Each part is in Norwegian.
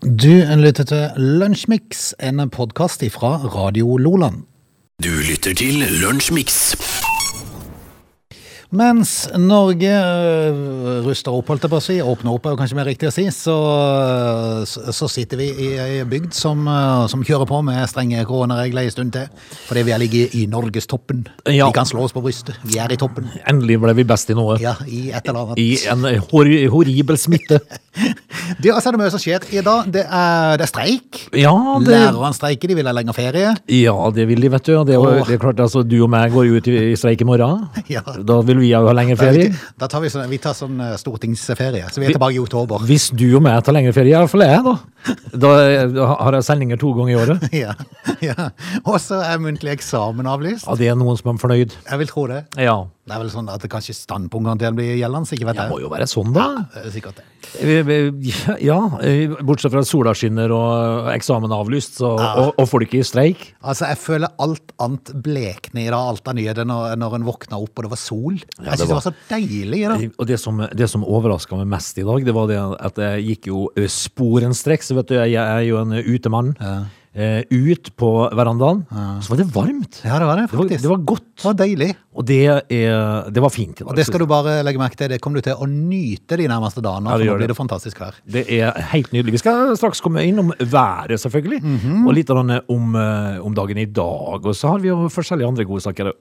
Du lytter til Lunsjmix, en podkast fra Radio Loland. Du lytter til Lunsjmix. Mens Norge øh, ruster opp, holdt jeg på å si, åpner opp er jo kanskje mer riktig å si, så, så så sitter vi i ei bygd som, øh, som kjører på med strenge koronaregler en stund til. Fordi vi har ligget i norgestoppen. Ja. Vi kan slå oss på brystet. Vi er i toppen. Endelig ble vi best i noe. Ja, i et eller annet. I en hor horribel smitte. Du, altså, det er mye som skjer i dag. Det er, det er streik. Ja, det, Lærerne streiker, de vil ha lengre ferie. ja, det vil de, vet du. og Det er, jo- det er klart, altså, du og meg går jo ut i i streik i morgen. Ja. Da vil vi jo ha lengre ferie. Da tar vi, sånn, vi tar sånn eh, stortingsferie, så vi er tilbake i oktober. Hvis du og meg tar lengre ferie, iallfall jeg, da. Da da har jeg sendinger to ganger i året. Ja, ja. Og så er muntlig eksamen avlyst. Ja, det er noen som er fornøyd. Jeg vil tro det. Ja. Det er vel sånn at det kanskje standpunktene til blir gjeldende, ikke vet Det må jeg. jo være sånn, da. Det er Sikkert det. Vi- vi- Ja, eh, bortsett fra at sola skinner og eksamen avlyst, så, og, og folk i streik. Altså, jeg føler alt annet blekne i dag, alt av nye, det når, når en våkna opp og det var sol. Ja, jeg det synes det var- var så deilig i dag. Og det som, det som overraska meg mest i dag, det var det at jeg gikk jo eh, sporenstreks. Vet du, jeg er jo en utemann. Eh, ut på verandaen. Så var det varmt. Ja, det var det, Det var, faktisk. det var godt. Det var deilig. Og det, er, det var fint. i dag. Og det skal du bare legge merke til. Det kommer du til å nyte de nærmeste dagene, Ja, for det nå gjør blir det. det fantastisk vær. Det er helt nydelig. Vi skal straks komme innom været, selvfølgelig. Mhm. Og litt grann om, eh, om dagen i dag. Og så har vi jo forskjellige andre godsaker.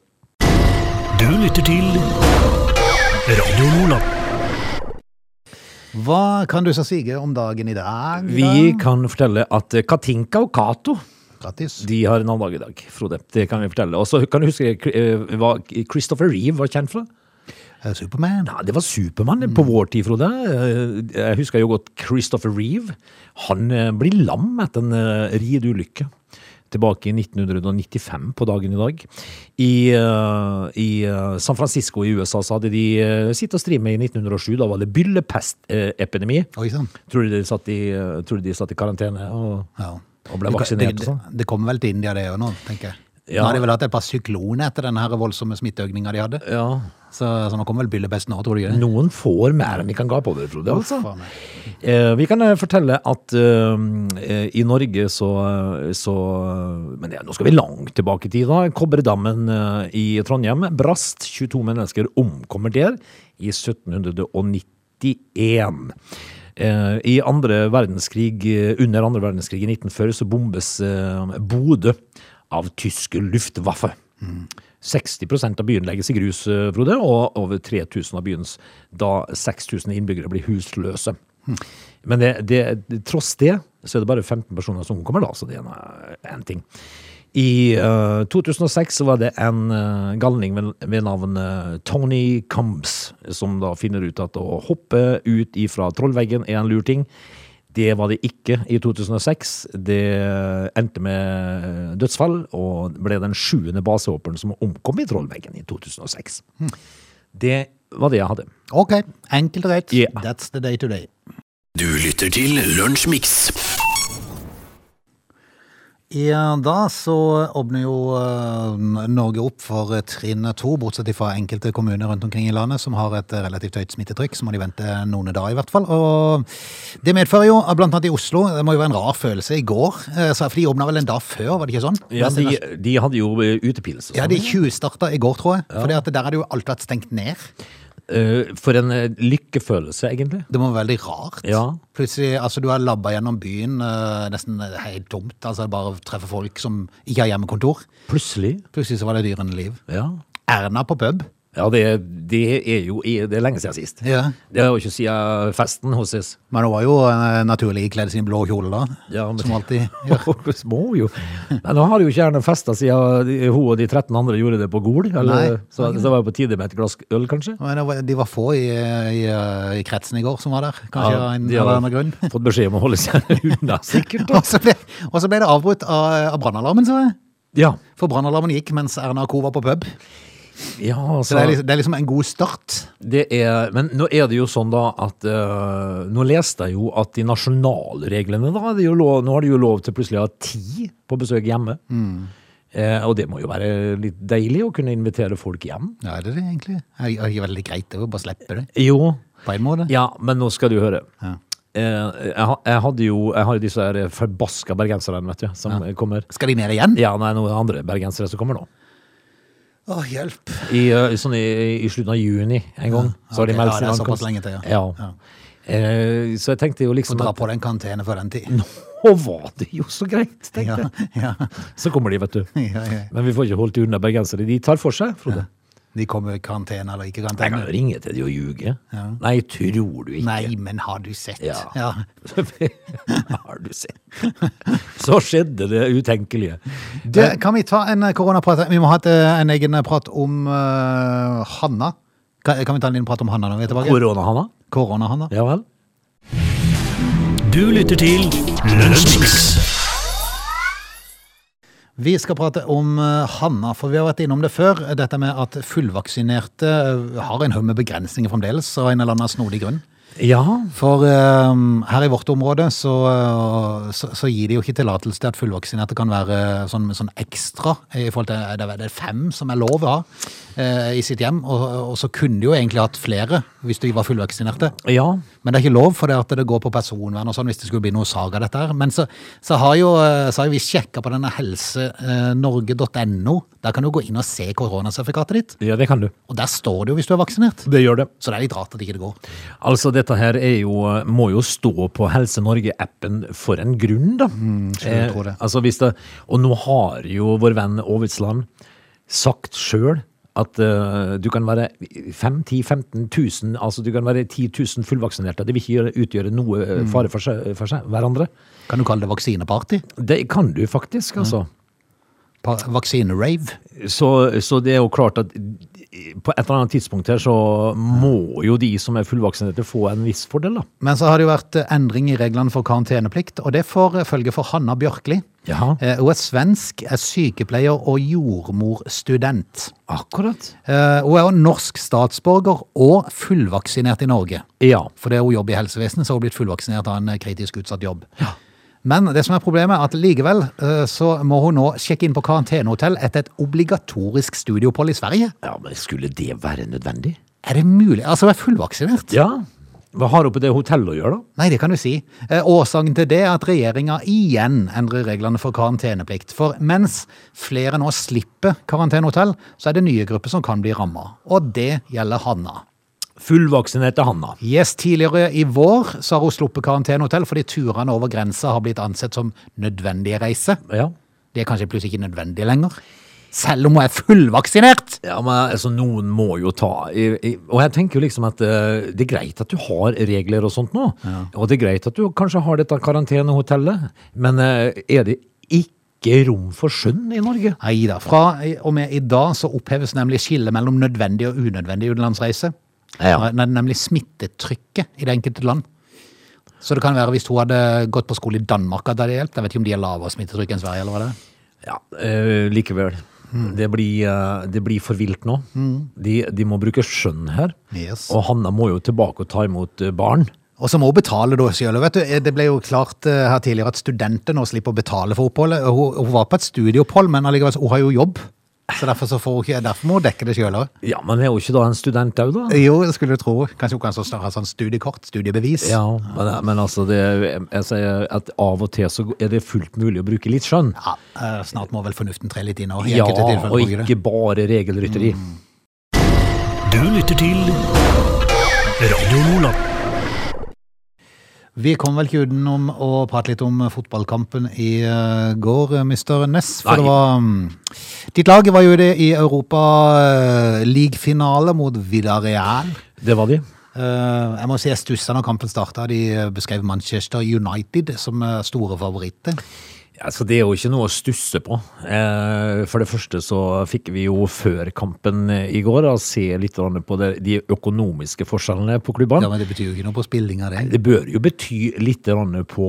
Du lytter til Radio Lola. Hva kan du så sige om dagen i dag? Vi kan fortelle at Katinka og Cato Grattis. De har en annen dag i dag, Frode. Det kan vi fortelle. Og så kan du huske eh, hva Christopher Reeve var kjent fra? Eh, Superman. Ja, det var Supermann på vår tid, Frode. Eh, Jeg husker jo godt Christopher Reeve. Han eh, blir lam etter en eh, ridulykke. Tilbake i 1995 på dagen i dag. I, eh, i eh, San Francisco i USA så hadde de eh, sitt og stri med i 1907. Da var det byllepestepidemi. Oi sann. Tror du de satt i, eh, tror du de satt i karantene og, Ja. og ble Det- vaksinert og Det, sånn? det, det kommer vel til India det òg nå, tenker jeg. Ja. Nå har de vel hatt et par sykloner etter den her voldsomme smitteøkninga de hadde. Ja, Så, så nå kommer vel byllepesten òg, tror du ikke det? Noen får mer enn vi kan gape over, Frode. Altså. Faen meg. Eh, vi kan eh, fortelle at eh, eh, i Norge så, eh, så eh, Men ja, nå skal vi langt tilbake i tid, da. Kobberdammen eh, i Trondheim brast. 22 mennesker omkommer der i 1791. Eh, I andre verdenskrig, eh, under andre verdenskrig i 1940 så bombes eh, Bodø av tyske Luftwaffe. 60 av byen legges i grus, eh, Frode, og over 3000 av byens da 6000 innbyggere blir husløse. Men det, det, tross det så er det bare 15 personer som omkommer, da, så det er en, eh, en ting. I eh, 2006 så var det en eh, galning ved, ved navn eh, Tony Combs som da finner ut at å hoppe ut ifra trollveggen er en lur ting. Det var det ikke i 2006. Det endte med dødsfall, og ble den sjuende basehopperen som omkom i Trollveggen i 2006. Hmm. Det var det jeg hadde. Ok, enkelt og greit. Ja. That's the day to day. Du lytter til Lunsjmix. I dag så åpner jo eh, Norge opp for trinn to, bortsett fra enkelte kommuner rundt omkring i landet som har et relativt høyt smittetrykk. Så må de vente noen dager, i hvert fall. Og det medfører jo, eh, blant annet i Oslo, det må jo være en rar følelse i går. eh, så- For de åpna vel en dag før, var det ikke sånn? Ja, Mens de, ellers- de hadde jo eh, utepils. og Ja, sånn. de tjuvstarta i går, tror jeg. Fordi at der har det jo alltid vært stengt ned. Eh, For en eh, lykkefølelse, egentlig. Det må være veldig rart. Ja. Plutselig, altså Du har labba gjennom byen, eh, nesten helt tomt. altså Bare treffer folk som ikke har hjemmekontor. Plutselig. Plutselig så var det dyrende liv. Ja. Erna på pub. Ja, det, det er jo i- Det er lenge siden sist. Ja. Det er jo ikke siden festen hos oss. Men hun var jo eh, naturlig kledd i sin blå kjole da, Ja, men- som alltid. Må jo. Men nå har jo ikke Erna festa siden de- hun og de 13 andre gjorde det på Gol. Nei. Eller, så, så det var jo på tide med et glass øl, kanskje. Men det var- de var få i, i, eh, i kretsen i går som var der, kanskje av en de eller har annen grunn. fått beskjed om å holde seg unna, sikkert. Og så ble, og så ble det avbrutt av, av brannalarmen, så jeg. Ja, For brannalarmen gikk mens Erna og co. var på pub. ja Så det altså, er, liksom, det er liksom en god start. det er, Men nå er det jo sånn, da, at eh, Nå leste jeg jo at de nasjonalreglene da, det er jo lov, Nå har de jo lov til plutselig å ha ti på besøk hjemme. Mm. Eh, og det må jo være litt deilig å kunne invitere folk hjem. Ja, er det det egentlig? Det er jo veldig greit å bare slippe det, Jo, på en måte. Ja, men nå skal du høre. Ja. eh, jeg, ha- jeg hadde jo jeg har jo disse her eh, forbaska bergenserne, vet du, som eh, kommer. Skal de ned igjen? Ja, nei, noen andre bergensere som kommer nå. Å, hjelp. I, eh, sånn i, i slutten av juni en gang. så har ok, de meldt ja, sin det er såpass ankomst. lenge til, ja. Ja. Eh, så jeg tenkte jo liksom Dra at- på den karantene før den tid. Nå var det jo så greit, Ja, tenkte jeg. ja, Så kommer de, vet du. ja, ja. Men vi får ikke holdt unna bergensere. De tar for seg, Frode. De kommer i karantene eller ikke Jeg kan karantene. jo ringe til de og ljuge. Nei, tror du ikke. Nei, men har du sett? Ja. ja. Har du sett. Så skjedde det utenkelige. Du, kan vi ta en eh, koronaprat? Vi må ha et, eh, en egen prat om eh, Hanna. Kan, kan vi ta en liten prat om Hanna når vi er tilbake? Korona-Hanna. Korona-Hanna. Ja vel. Du lytter til Lunsjmix. Vi skal prate om eh, Hanna, for vi har vært innom det før. Dette med at fullvaksinerte eh, har en haug med begrensninger fremdeles, av en eller annen snodig grunn. Ja. For eh, her i vårt område så, eh, så, så gir de jo ikke tillatelse til at fullvaksinerte kan være sånn, sånn ekstra. i forhold til eh, Det er- det er fem som er lov å ha eh, i sitt hjem, og, og så kunne de jo egentlig hatt flere hvis de var fullvaksinerte. Ja. Men det er ikke lov, for det, at det går på personvern og sånn hvis det skulle bli noe saga dette her. Men så, så, har, jo, eh, så har jo vi sjekka på denne eh, helsenorge.no. Der kan du gå inn og se koronasertifikatet ditt. ja, det kan du. Og der står det jo hvis du er vaksinert. Det gjør det. Så det er litt rart at ikke det går. Altså, dette her er jo, må jo stå på Helse Norge-appen for en grunn, da. skulle jo tro det. Eh, altså, hvis det, og nå har jo vår venn Aavitsland sagt sjøl at eh, du kan være 5 10 15 000, altså du kan være 10 000 fullvaksinerte. Det vil ikke gjøre, utgjøre noe eh, fare for, seg, for seg, hverandre. Kan du kalle det vaksineparty? Det kan du faktisk, altså. Pa- Vaksinerave? Så, så det er jo klart at på et eller annet tidspunkt her så må jo de som er fullvaksinerte få en viss fordel, da. Men så har det jo vært eh, endring i reglene for karanteneplikt, og det får eh, følge for Hanna Bjørkli. Ja, Eh, Hun er svensk, er sykepleier og jordmorstudent. akkurat. Eh, Hun er jo norsk statsborger og fullvaksinert i Norge. Ja. Fordi hun jobber i helsevesenet, så har hun blitt fullvaksinert av en eh, kritisk utsatt jobb. Men det som er problemet er at likevel eh, så må hun nå sjekke inn på karantenehotell etter et obligatorisk studieopphold i Sverige. Ja, men skulle det være nødvendig? Er det mulig? Altså, hun er fullvaksinert? Ja. Hva har hun på det hotellet å gjøre, da? Nei, det kan du si. Eh, Årsaken til det er at regjeringa igjen endrer reglene for karanteneplikt. For mens flere nå slipper karantenehotell, så er det nye grupper som kan bli ramma. Og det gjelder Hanna. Fullvaksinerte Hanna. Yes, Tidligere i vår så har hun sluppet karantenehotell fordi turene over grensa har blitt ansett som nødvendige reiser. Ja. De er kanskje plutselig ikke nødvendige lenger. Selv om hun er fullvaksinert! ja, men altså, noen må jo ta i, i, Og jeg tenker jo liksom at eh, det er greit at du har regler og sånt nå. Og det er greit at du kanskje har dette karantenehotellet, men eh, er det ikke rom for skjønn i Norge? Nei da. Fra og med i dag så oppheves nemlig skillet mellom nødvendig og unødvendig utenlandsreise. Ja. Nei, Nemlig smittetrykket i det enkelte land. Så det kan være hvis hun hadde gått på skole i Danmark at det hadde hjelpt. Jeg vet ikke om de har lavere smittetrykk enn Sverige, eller hva det er. Ja, eh, likevel. Det, blir, eh, det blir for vilt nå. De, de må bruke skjønn her. Yes. Og Hanna må jo tilbake og ta imot eh, barn. Og så må hun betale da selv. Vet du, det ble jo klart eh, her tidligere at studenter nå slipper å betale for oppholdet. Og Hun, hun var på et studieopphold, men allikevel, så hun har jo jobb. Så derfor, så får hun ikke, derfor må hun dekke det sjøl òg. Ja, men er hun ikke da en student òg, da? Jo, det skulle du tro. Kanskje hun kan så snart ha sånn studiekort, studiebevis. Ja, men, men altså, det, jeg sier at av og til så er det fullt mulig å bruke litt skjønn. Ja, eh, snart må vel fornuften tre litt inn òg. Ja, og ikke bare regelrytteri. Du lytter til Radio Lola. Vi kom vel ikke utenom å prate litt om fotballkampen i eh, går, eh, Mr. Ness. For Nei. det var mm, Ditt lag var jo det i Europa-league-finale mot Villarreal. Det var de. Eh, Jeg må si jeg stussa når kampen starta. De eh, beskrev Manchester United som eh, store favoritter. Altså, det er jo ikke noe å stusse på. Eh, for det første så fikk vi jo før kampen i går å se litt grann på det, de økonomiske forskjellene på Ja, klubbene. Men det betyr jo ikke noe på spillinga, det. Det bør jo bety litt grann på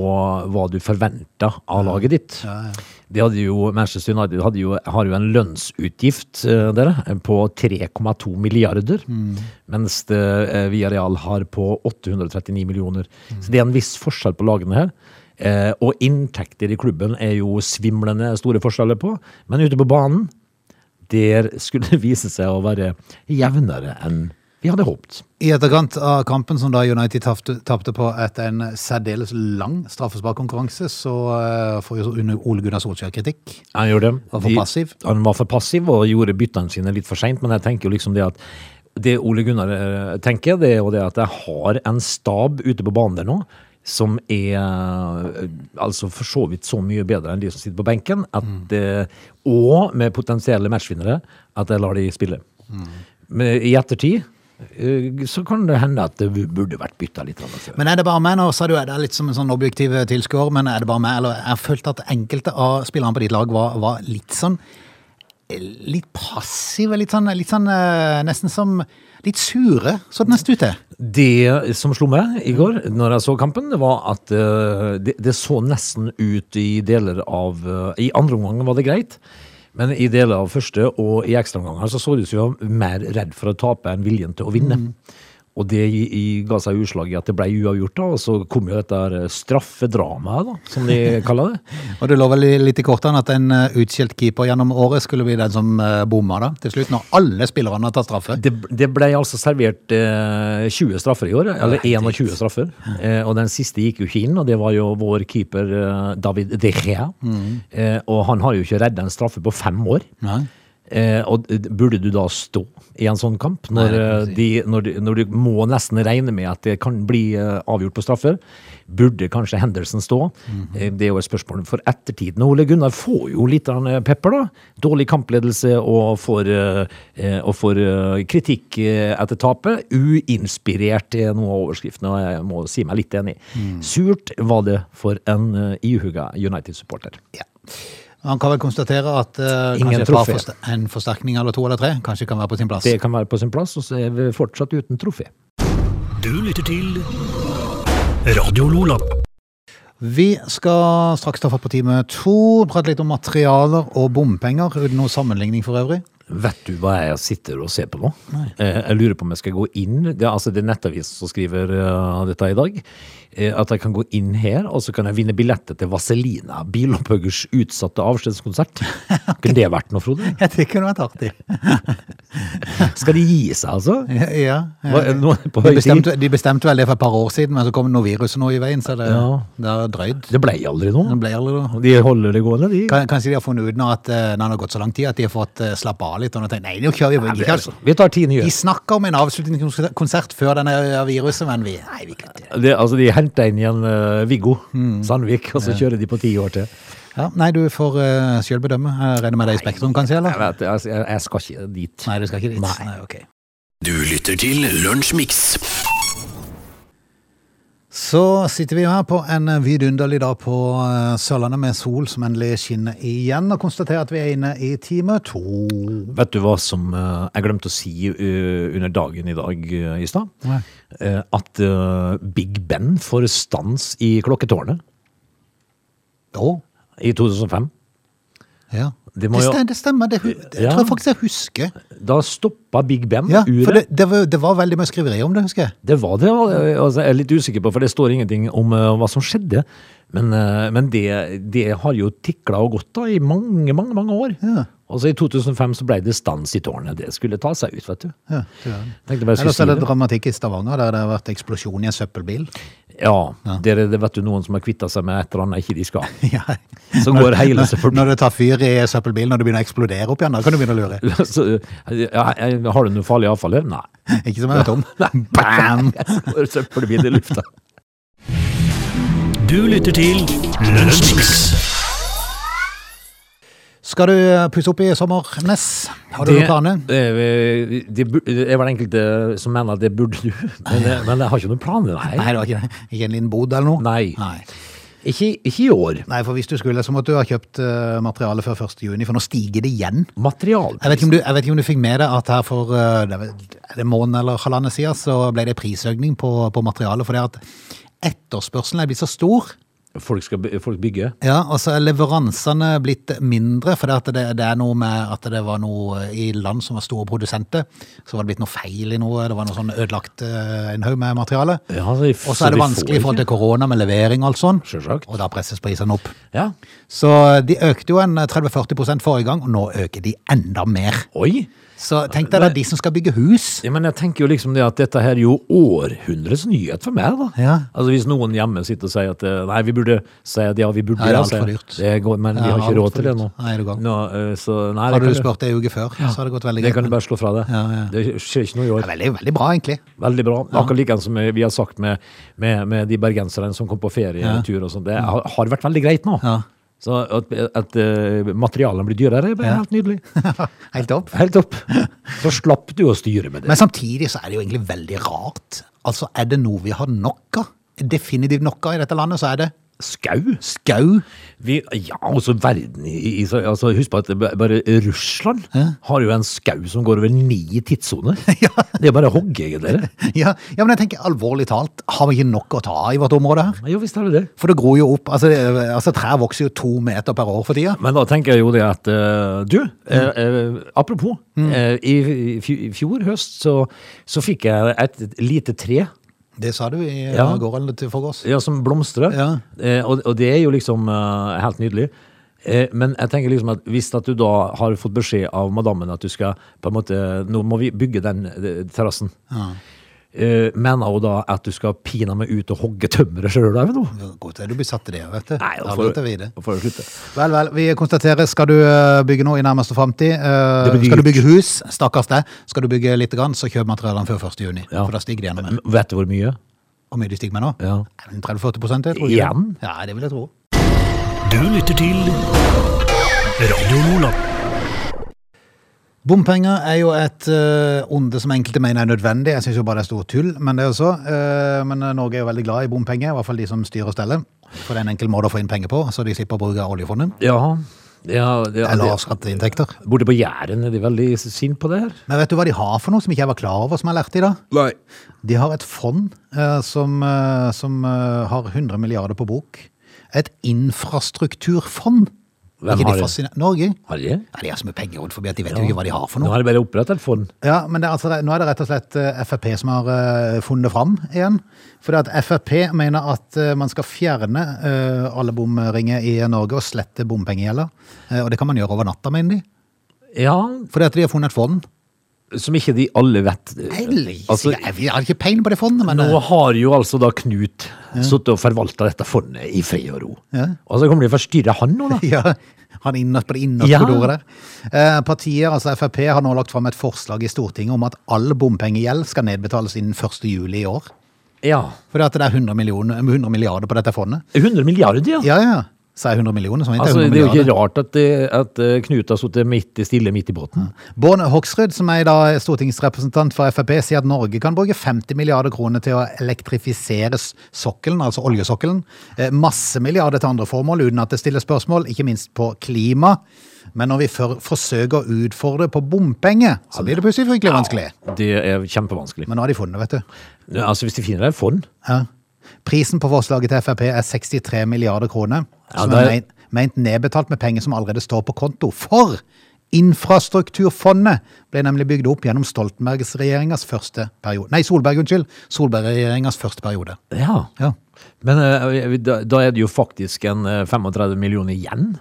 hva du forventer av laget ditt. De hadde jo, Manchester United hadde jo, har jo en lønnsutgift eh, dere, på 3,2 milliarder, mens det, eh, Villarreal har på 839 millioner. Så det er en viss forskjell på lagene her. Eh, og inntekter i klubben er jo svimlende store forskjeller på, men ute på banen, der skulle det vise seg å være jevnere enn Vi hadde håpet. I etterkant av kampen, som da United tapte- tapte på etter en særdeles lang straffesparkkonkurranse, så eh, får jo Une- Ole Gunnar Solskjær kritikk. Han gjorde det. Var for De- passiv. Han var for passiv og gjorde byttene sine litt for seint, men jeg tenker jo liksom det at det Ole Gunnar eh, tenker, det er jo det at jeg har en stab ute på banen der nå som er eh, altså for så vidt så mye bedre enn de som sitter på benken, at, eh, og med potensielle matchvinnere, at jeg lar de spille. Men i ettertid eh, så kan det hende at det burde vært bytta litt. grann altså. før. Men er det bare meg, nå sa du er det er litt som en sånn objektiv tilskuer, men er det bare meg, eller jeg følte at enkelte av spillerne på ditt lag var, var litt sånn eh, Litt passive, litt sånn, litt sånn eh, nesten som Litt sure, så det nesten ut til. Det som slo meg i går når jeg så kampen, det var at eh, det, det så nesten ut i deler av eh, I andre omgang var det greit, men i deler av første og i ekstraomganger så så det ut som de var mer redd for å tape enn viljen til å vinne. Og det i, i, ga seg utslag i at det ble uavgjort, da, og så kom jo dette her, eh, straffedramaet, da, som de kaller det. Og det lå vel litt i kortene at en eh, utskjelt keeper gjennom året skulle bli den som eh, bomma da, til slutt, når alle spillerne har tatt straffe. Det, det ble altså servert eh, 20 straffer i år, eller 21 straffer. Eh, og den siste gikk jo ikke inn, og det var jo vår keeper eh, David De Gea. Eh, og han har jo ikke redda en straffe på fem år. Nei. Eh, og d- burde du da stå i en sånn kamp, når, eh, de, når, du, når du må nesten regne med at det kan bli eh, avgjort på straffer? Burde kanskje Henderson stå? Eh, Det er jo et spørsmål for ettertiden. Ole Gunnar får jo litt av en eh, pepper, da. Dårlig kampledelse og får, eh, eh, og får eh, kritikk eh, etter tapet. Uinspirert er noe av overskriftene, og jeg må si meg litt enig. Surt var det for en eh, ihuga United-supporter. Ja. Han kan vel konstatere at eh, Ingen kanskje et par trofé. forste- en forsterkning eller to eller tre kanskje kan være på sin plass. Det kan være på sin plass, og så er vi fortsatt uten trofé. Du lytter til Radio Lola. Vi skal straks ta fatt på time to, prate litt om materialer og bompenger, uten noe sammenligning for øvrig. Vet du hva jeg sitter og ser på nå? Eh, jeg lurer på om jeg skal gå inn Det er, altså, det er Nettavisen som skriver eh, dette i dag. Eh, at jeg kan gå inn her, og så kan jeg vinne billetter til Vaselina, Bilopphøggers utsatte avskjedskonsert. Kunne det vært noe, Frode? Ja, det kunne vært artig. Skal de gi seg, altså? Ja, ja. Eh, Hva, er det nå på De høy tid? bestemte, de bestemte vel det for et par år siden, men så kom det noe virus nå i veien, så det, Ja. det er drøyd. Det ble aldri noe. Det ble aldri noe. De holder det gående, de. Kan- Kanskje de har funnet ut nå at eh, når det har gått så lang tid, at de har fått eh, slappe av litt. Og nå tenkt, nei, nå kjører vi ikke, altså. Vi tar ti nye. De snakker om en avslutningskonsert før denne eh, viruset, men vi, nei, vi kan ikke. Det, altså, de henter inn igjen eh, Viggo Mm. Sandvik, og så kjører de på ti år til. Ja, nei, du får uh, sjøl bedømme. Jeg regner med deg i Spektrum, kanskje? eller? Jeg, vet, altså, jeg, jeg- jeg skal ikke dit. Nei, du skal ikke dit. Nei, ok. Du lytter til Lunsjmix. Så sitter vi jo her på en eh, vidunderlig dag på eh, Sørlandet med sol som endelig skinner igjen, og konstaterer at vi er inne i time to. Vet du hva som eh, jeg glemte å si eh, under dagen i dag eh, i stad? Nei. Eh, at eh, Big Ben får stans i klokketårnet Jo. i 2005. Ja. Det Det, må jo- stemmer, det stemmer. Det, hu- jeg Ja. tror jeg faktisk jeg husker. Da stoppa Big Ben Ja, for det, uret. Det, det, var, det var veldig mye skriveri om det, husker jeg. var det. eh, Altså, jeg er litt usikker på, for det står ingenting om eh, hva som skjedde. Men, eh, men det, det har jo tikla og gått da i mange, mange mange år. Ja. Og så i 2005 så ble det stans i tårnet. Det skulle ta seg ut, vet du. Ja, det var det. Tenkte bare jeg skulle Ellers si er det det. dramatikk i Stavanger, der det har vært eksplosjon i en søppelbil. Ja, Dere, det vet du noen som har kvitta seg med et eller annet ikke de skal. Ja. Så går hele Når, søppelbilen når det tar fyr i søppelbilen, og det begynner å eksplodere opp igjen, da kan du begynne å lure. Så, ja, har du noe farlig avfall her? Nei. Ikke som jeg vet om. Bam! Bare Søppelbil i lufta. Du lytter til Lunsjmix. Skal du eh, pusse opp i sommer, Ness? Har du noen planer? Det, eh, det, bu- det er vel enkelte som mener at det burde du, men, eh, men jeg har ikke noen planer, nei. Nei, det var ikke det. Ikke en liten bod eller noe? Nei. Nei. Ikke, ikke i år. Nei, for hvis du skulle, så måtte du ha kjøpt eh, materiale før 1. juni, for nå stiger det igjen. Material. Jeg vet, ikke om du, jeg vet ikke om du fikk med deg at her for eh, det er vel- er det en måned eller halvannen siden, så ble det prisøkning på, på materialet, for det at etterspørselen er blitt så stor, Folk skal by- folk bygge. ja, og så er leveransene blitt mindre, for det, at det, det er noe med at det var noe i land som var store produsenter, så var det blitt noe feil i noe, det var noe sånn ødelagt eh, en haug med materiale. Ja, så de- Og så er det de vanskelig i får forhold ikke. til korona med levering og alt sånn. Selvsagt. Og da presses prisene opp. Ja. Så de økte jo en 30-40 forrige gang, og nå øker de enda mer. Oi! Så tenk deg da de som skal bygge hus. Ja, men jeg tenker jo liksom det at dette her er jo århundrets nyhet for meg, da. Ja. Altså Hvis noen hjemme sitter og sier at eh, nei, vi burde si at ja, vi burde Nei, det er alt sier for jeg. dyrt. Det går, men vi Ja, har alt ikke råd for til det nå. dyrt. Nei, er du gal. Nå, eh, så, nei, det Hadde kan du du- spurt ei uke før, så hadde det gått veldig Det greit. kan du men- bare slå fra deg. Ja, ja. Det skjer ikke noe i Det år. er veldig, veldig bra, egentlig. Veldig bra. Akkurat like som vi har sagt med, med, med de bergenserne som kom på ferietur og sånn. Det har, har vært veldig greit nå. Mm. Ja. Så at, at eh, materialene blir dyrere, er helt nydelig. Helt opp. Helt opp. Så slapp du å styre med det. Men samtidig så er det jo egentlig veldig rart. Altså, er det noe vi har nok av? Definitivt nok av i dette landet, så er det Skau? skau. Vi, ja, altså verden i, i så- altså, Husk på at b- bare Russland har jo en skau som går over ni tidssoner. Det er bare å hogge, dere. Ja, ja, men jeg tenker alvorlig talt, har vi ikke nok å ta av i vårt område her? Jo visst har vi det. For det gror jo opp, altså, det- altså trær vokser jo to meter per år for tida. Men da tenker jeg jo det at eh, Du, eh, eh, apropos. eh, i, i fj- i fjor høst så, så fikk jeg et, lite tre Det sa du i Ja. går eller til forgårs. ja, som blomstrer. Ja. Eh, og, og det er jo liksom eh, helt nydelig. Eh, men jeg tenker liksom at hvis at du da har fått beskjed av madammen at du skal på en måte, Nå må vi bygge den eh, terrassen. Eh, mener hun da at du skal pina meg ut og hogge tømmeret sjøl? Nei, Godt er du besatt i det, vet du. da Da får vet vi det. da får du slutte. Vel, vel, vi konstaterer, skal du eh, bygge noe i nærmeste fremtid, eh, Det blir skal du dyrt. bygge hus, stakkars deg, skal du bygge litt, grann, så kjøp materialene før 1. juni, Ja. for da stiger de gjennom en. Men Vet du hvor mye? Hvor mye de stiger med nå? Ja. Nei, men 30-40 prosent, jeg tror. Igjen? Ja, det vil jeg tro. Du lytter til Radio Lola. Bompenger er jo et eh, onde som enkelte mener er nødvendig. Jeg syns jo bare det er stor tull, men det er jo så. Eh, men eh, Norge er jo veldig glad i bompenger, i hvert fall de som styrer og steller. For det er en enkel måte å få inn penger på, så de slipper å bruke oljefondet. Ja, ja, ja Eller det, har skatteinntekter. Borte på Jæren er de veldig sinte på det her. Men vet du hva de har for noe som ikke jeg var klar over, som jeg lærte i dag? Nei. De har et fond eh, som, eh, som eh, har 100 milliarder på bok. Et infrastrukturfond. Hvem Ikke har de det? fasciner- Norge? Har de det? Ja, de har så mye penger rundt forbi at de vet jo ikke hva de har for Nå noe. har de bare opprettet et fond. Ja, men det er altså, Nå er det rett og slett eh, Frp som har eh, funnet det fram igjen. For det at Frp mener at eh, man skal fjerne eh, alle bomringer i Norge og slette bompengegjelder. Eh, Og det kan man gjøre over natta, mener de. Ja, Fordi at de har funnet et fond. som ikke de alle vet. Altså, jeg, jeg har ikke peiling på det fondet, men Nå eh, har jo altså da Knut sittet og forvalta dette fondet i fred og ro. Ja. Og så kommer de og forstyrrer han nå, da. Ja, han er innerst på det innerste Ja. kontoret der. Eh, partiet, altså Frp, har nå lagt fram et forslag i Stortinget om at all bompengegjeld skal nedbetales innen 1. juli i år. Ja. Fordi at det er 100, millioner, 100 milliarder på dette fondet. 100 milliarder, ja. Ja, ja. Så er 100 millioner, som ikke Altså, er 100 det er jo milliarder. ikke rart at, det- at eh, Knut har sittet midt, stille midt i båten. Bård Hoksrud, som er da stortingsrepresentant for Frp, sier at Norge kan bruke 50 milliarder kroner til å elektrifisere s- sokkelen, altså oljesokkelen. Eh, Masse milliarder til andre formål uten at det stiller spørsmål, ikke minst på klima. Men når vi for, forsøker å utfordre på bompenger, så blir det plutselig fryktelig vanskelig. Det er kjempevanskelig. Men nå har de funnet det, vet du. Altså, Hvis de finner et fond Ja. Prisen på forslaget til Frp er 63 milliarder kroner, Ja, som det er er- meint, meint nedbetalt med penger som allerede står på konto. For infrastrukturfondet ble nemlig bygd opp gjennom Stoltenberg-regjeringas første periode. Nei, Solberg, unnskyld. Solberg-regjeringas første periode. Ja. Ja. Men eh, da, da er det jo faktisk en eh, 35 millioner igjen.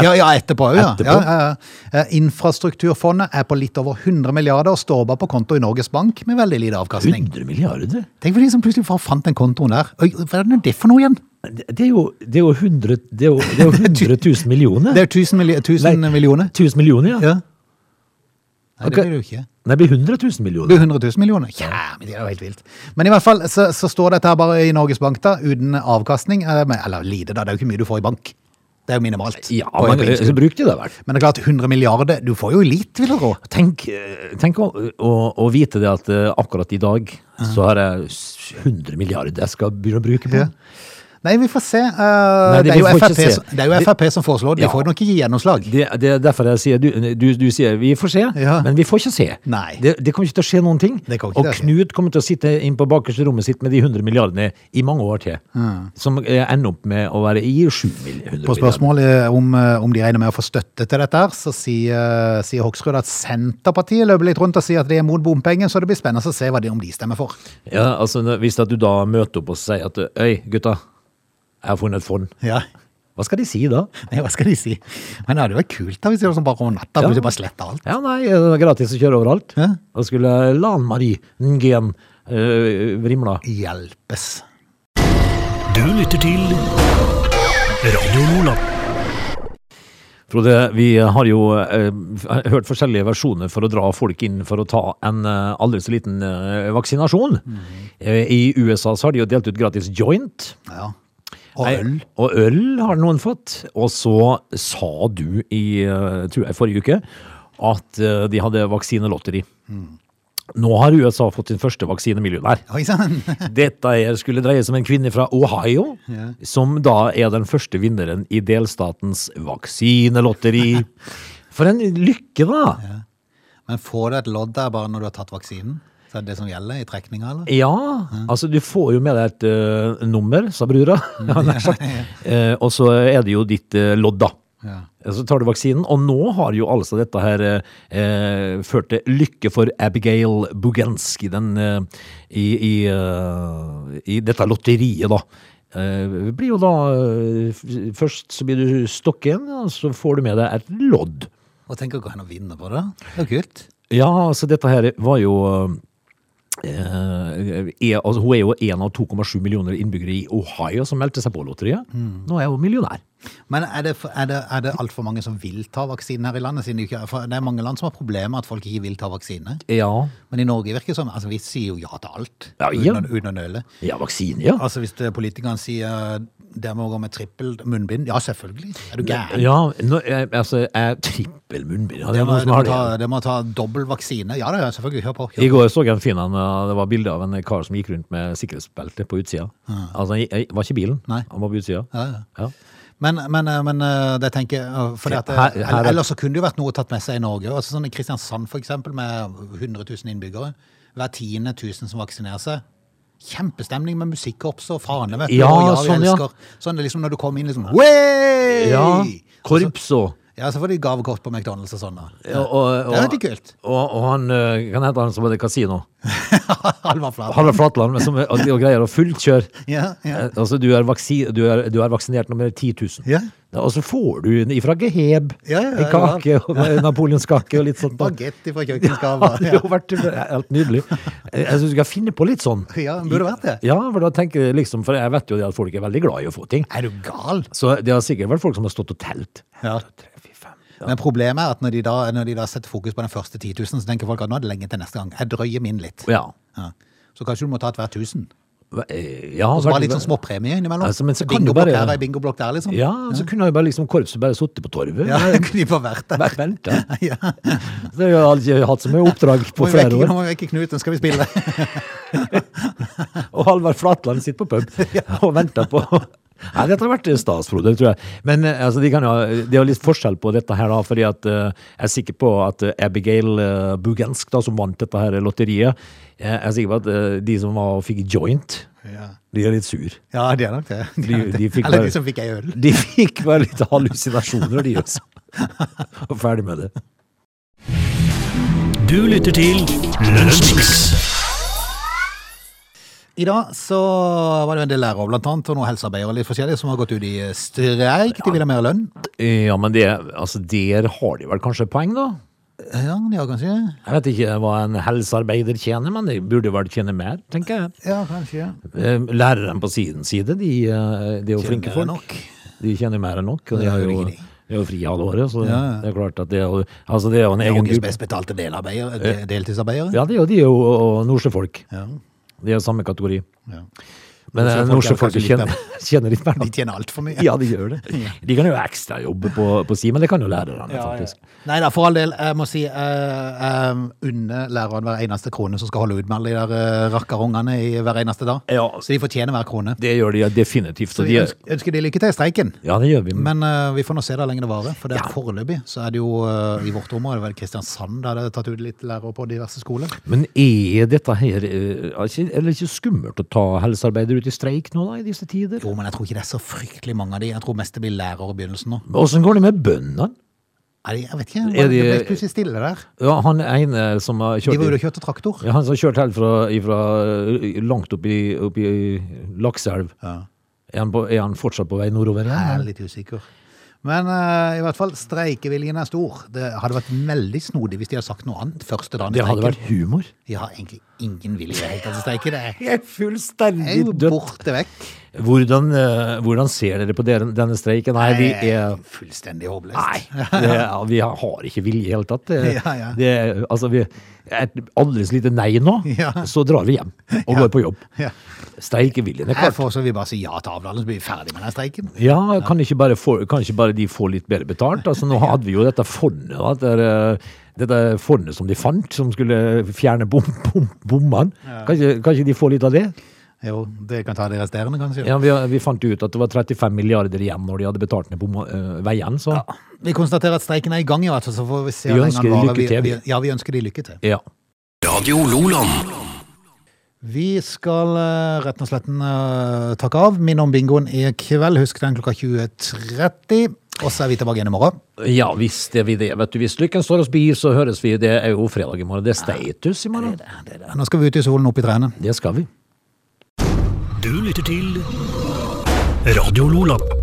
Ja, ja, etterpå òg, ja. Etterpå? Ja, ja, ja. Eh, Infrastrukturfondet er på litt over 100 milliarder og står bare på konto i Norges Bank med veldig lite avkastning. 100 milliarder? Tenk for de som plutselig fant den kontoen der. Oi, Hva er det nå det for noe igjen? Det det er jo, det er jo 100, det er jo, det er jo 100 000 millioner. Det er jo 1000 milli- 1000 Nei. millioner. 1000 millioner, ja. Ja. Nei, Ok. det blir det jo ikke. Nei, det blir 100 000 Det millioner. blir 100 000 millioner. Ja, men det er jo helt vilt. Men i hvert fall så, så står dette her bare i Norges Bank da, uten avkastning. Eller, men- eller lite, da. Det er jo ikke mye du får i bank. Det er jo minimalt. Ja, På et men innskudd. så bruk de det vel. men det er klart, 100 milliarder, du får jo litt, vil jeg tro. Tenk, eh, tenk å, å, å vite det at eh, akkurat i dag så har jeg s- 100 milliarder jeg skal begynne å bruke på. Ja. Nei, vi får se. Eh, det- det, er jo vi får ikke FRP, se. som- det er jo Frp som foreslår det. De Ja. får nok ikke gjennomslag. Det, det er derfor jeg sier, du, du, du sier vi får se, Ja. men vi får ikke se. Nei. Det, det kommer ikke til å skje noen ting. Det kommer ikke Og til å skje. Knut kommer til å sitte inn på bakerste rommet sitt med de 100 milliardene i mange år til. Som eh, ender opp med å være i 700 milliarder. På spørsmål eh, om, eh, om de regner med å få støtte til dette, her, så sier, eh, sier Hoksrud at Senterpartiet løper litt rundt og sier at de er mot bompenger, så det blir spennende å se hva de, om de stemmer for. Ja, altså, hvis at du da møter opp og sier at Øy, gutta, jeg har funnet et fond. Ja. Hva skal de si da? Nei, hva skal de si? Men det hadde vært kult da, hvis de gjorde sånn bare over natta, Ja. plutselig bare sletta alt. Ja, nei, eh, det er gratis å kjøre overalt. Ja. Da skulle Lan Marie Nguyen eh, vrimla. Hjelpes. Du lytter til Radio Nordland. Frode, vi har jo eh, f- hørt forskjellige versjoner for å dra folk inn for å ta en eh, aldri så liten eh, vaksinasjon. Mm. Eh, I USA så har de jo delt ut gratis joint. Ja. Og Nei, øl. Og øl har noen fått. Og så sa du i eh, tror jeg forrige uke at eh, de hadde vaksinelotteri. Mm. Nå har USA fått sin første vaksinemillionær. Oi sann! Dette er, skulle dreie seg om en kvinne fra Ohio, Ja. som da er den første vinneren i delstatens vaksinelotteri. For en lykke, da! Men får du et lodd der bare når du har tatt vaksinen? Så er det det som gjelder i trekninga, eller? Ja, altså du får jo med deg et eh, nummer, sa brura. har nær sagt. Eh, og så er det jo ditt eh, lodd, da. Ja. Så tar du vaksinen, og nå har jo altså dette her eh, eh, ført til lykke for Abigail Buganski den, eh, i, i, eh, i dette lotteriet, da. Eh, blir jo da eh, f- Først så blir du stokken, og så får du med deg et lodd. Og tenk å gå hen og vinne på det. Det er jo kult. Ja, altså dette her var jo eh, er, altså, Hun er jo en av 2,7 millioner innbyggere i Ohio som meldte seg på lotteriet. Nå er hun millionær. Men er det, er det, er det altfor mange som vil ta vaksinen her i landet? Siden det, ikke, for det er mange land som har problemer med at folk ikke vil ta vaksine. Ja, Men i Norge virker det som altså, vi sier jo ja til alt. Ja, ja. uten, å- uten å nøle. ja vaksine, ja. Altså Hvis det- politikerne sier det må gå med trippel munnbind, ja selvfølgelig. Er du gæren? Ja, nå, jeg, altså, jeg trippel munnbind. Det Det er må, noen det, som må har det. ta, det må ta dobbel vaksine. Ja, det er selvfølgelig. Hør på. I Hør. går så jeg en fin en, eh, det var bilde av en kar som gikk rundt med sikkerhetsbelte på utsida. Altså, han gikk- var ikke i bilen, Nei. han var på utsida. Ja, ja. Ja. Men, men, men eh, det tenker jeg eh, fordi at, Her- her er- Ellers så kunne det jo vært noe tatt med seg i Norge. Altså sånn I Kristiansand for eksempel, med 100 000 innbyggere. Hver tiende tusen som vaksinerer seg. Kjempestemning med musikkorps og fane. Vet du, Ja, og vi sånn, ja. elsker. Sånn det er liksom når du kom inn liksom Wey! ja. Og så- Korps og Ja, så får de gavekort på McDonald's og sånn. da. og, og, Det er veldig kult. Og, og han, eh, kan hete han som hadde kasino. Halvard Flat. Halvard Flatland, men som og, og greier å fullkjøre. Ja, ja. Eh, Altså, du er, vaksi, du, er, du er vaksinert nummer 10 000. Ja. Ja, Og så får du en ifra Geheb Ja, ja, ja, en kake, og napoleonskake og litt sånt. da. Bagetti fra Ja, kjøkkenskapet. det har jo vært eh, helt nydelig. Jeg jeg synes du skal finne på litt sånn. Ja, det burde vært det. Ja, for da tenker jeg liksom, for jeg vet jo det at folk er veldig glad i å få ting. Er du gal? Så det har sikkert vært folk som har stått og telt. Ja. Tre, fire, fem. Men problemet er at når de, da, når de da setter fokus på den første 10 000, så tenker folk at nå er det lenge til neste gang. Jeg drøyer min litt. Ja. Ja. Så kanskje du må ta et hver tusen. Hva- eh, ja Og så bare litt sånn småpremie innimellom. Altså, men så kan du bingoblokk bare- her og bingoblokk der, liksom. Ja, så kunne jo bare liksom korpset bare sittet på torvet. Ja, Bare- kunne de bare vært der. Bare vent, da. Ja. Så har jeg aldri hatt så mye oppdrag Må på vi flere vekke, nå år. må vi vekke Knut, nå skal vi spille. Og Halvard Flatland sitter på pub og venter på Nei, dette har vært stas, Frode, det tror jeg. Men eh, altså, de kan jo, det er jo litt forskjell på dette her, da, fordi at eh, jeg er sikker på at eh, Abigail eh, Bugansk, da, som vant dette her lotteriet, jeg er sikker på at eh, de som var og fikk joint, Ja, de er litt sur. ja det er nok det. De, De- de fikk Eller bare- de som fikk ei øl. De fikk bare litt hallusinasjoner, de også. Og ferdig med det. Du lytter til Lunsjmix. I dag så var det jo en del lærere, blant annet, og noen helsearbeidere litt forskjellige, som har gått ut i streik. De vil ha mer lønn. Ja, men det, altså, der har de vel kanskje et poeng, da? Ja, ja, kanskje. Jeg vet ikke hva en helsearbeider tjener, men de burde vel tjene mer, tenker jeg. Ja, kanskje. Eh, Lærerne på sin side, de, eh, de er jo flinke mer enn folk. nok. De tjener mer enn nok, og de Det er har jo jo, riktig. de har jo fri halve året, så Ja, ja. det er klart at det er jo altså det er jo en egen Norges gruppe. best betalte delarbeidere, de- deltidsarbeidere. Ja, det er jo de er jo og nordsjøfolk. Ja. De er samme kategori. Ja. Men eh, Nordsjøfolk er nordsjøfolk kanskje litt tjener, tjener litt mer. De tjener altfor mye. Ja, de gjør det. De kan jo ekstrajobbe på, på si, men det kan jo lærerne, faktisk. Nei da, for all del. Jeg må si eh, eh, unne læreren hver eneste krone som skal holde ut med alle de der eh, rakkerungene i hver eneste dag. Ja. altså, Så de fortjener hver krone. Det gjør de ja, definitivt. Så Og vi Eh, de, er- ønsker, ønsker de lykke til i streiken. ja, det gjør vi. Men eh, vi får nå se da lenge det varer. For det er Ja. foreløpig så er det jo eh, i vårt område vel Kristiansand der det er tatt ut litt lærere på diverse skoler. Men er dette her eh, er ikke- er det ikke skummelt å ta helsearbeidere ut i streik nå, da, i disse tider? Jo, men jeg tror ikke det er så fryktelig mange av de. Jeg tror mest det blir lærere i begynnelsen nå. Åssen går det med bøndene? Er de, jeg vet ikke. Er Er de- Det ble plutselig stille der. Ja, han ene som har De var kjørt ute og kjørte traktor. ja, Han som har kjørt helt fra, ifra eh, langt opp i, opp i Lakselv. Ja. Er han, på, er han fortsatt på vei nordover? Jeg Ja? er litt usikker. Men eh, i hvert fall, streikeviljen er stor. Det hadde vært veldig snodig hvis de hadde sagt noe annet første dagen. i Det hadde streiken. vært humor. De har egentlig ingen vilje i det hele tatt til å streike. Det er- Jeg er er fullstendig jo borte vekk. Hvordan, eh, hvordan ser dere på dere, denne streiken? Nei, vi er fullstendig håpløst. Nei, det, er- vi har- har ikke vilje i det hele tatt. Det, Ja, ja. det, er- altså, vi er et aldri så lite nei nå, Ja. så drar vi hjem og går på jobb. Ja. Streikeviljen er Jeg klart. foreslår vi bare sier ja til avtalen, så blir vi ferdig med den streiken. Ja, kan ikke, bare få, kan ikke bare de få litt bedre betalt? Altså, nå hadde vi jo dette fondet, da, dette, eh, dette fondet som de fant, som skulle fjerne bom, bom, bommene. Kan, ikke- kan ikke de få litt av det? Jo, det kan ta de resterende, kanskje. Ja, vi, vi fant jo ut at det var 35 milliarder igjen når de hadde betalt ned bom, eh, veien, så... Vi konstaterer at streiken er i gang, i hvert fall. Så får vi se Vi hvor lenge ønsker den de varer. lykke Vi- til, vi- vi. Ja, vi ønsker de lykke til. Ja. Radio Loland. Vi skal eh, rett og slett eh, takke av. Minn om bingoen i kveld. Husk den klokka 20.30. Og så er vi tilbake igjen i morgen. Ja visst er vi det. Vet du, Hvis lykken står oss bi, så høres vi. Det er jo fredag i morgen. Det er status i morgen. Nå skal vi ut i solen, opp i trærne. Det skal vi. Du lytter til Radio Loland.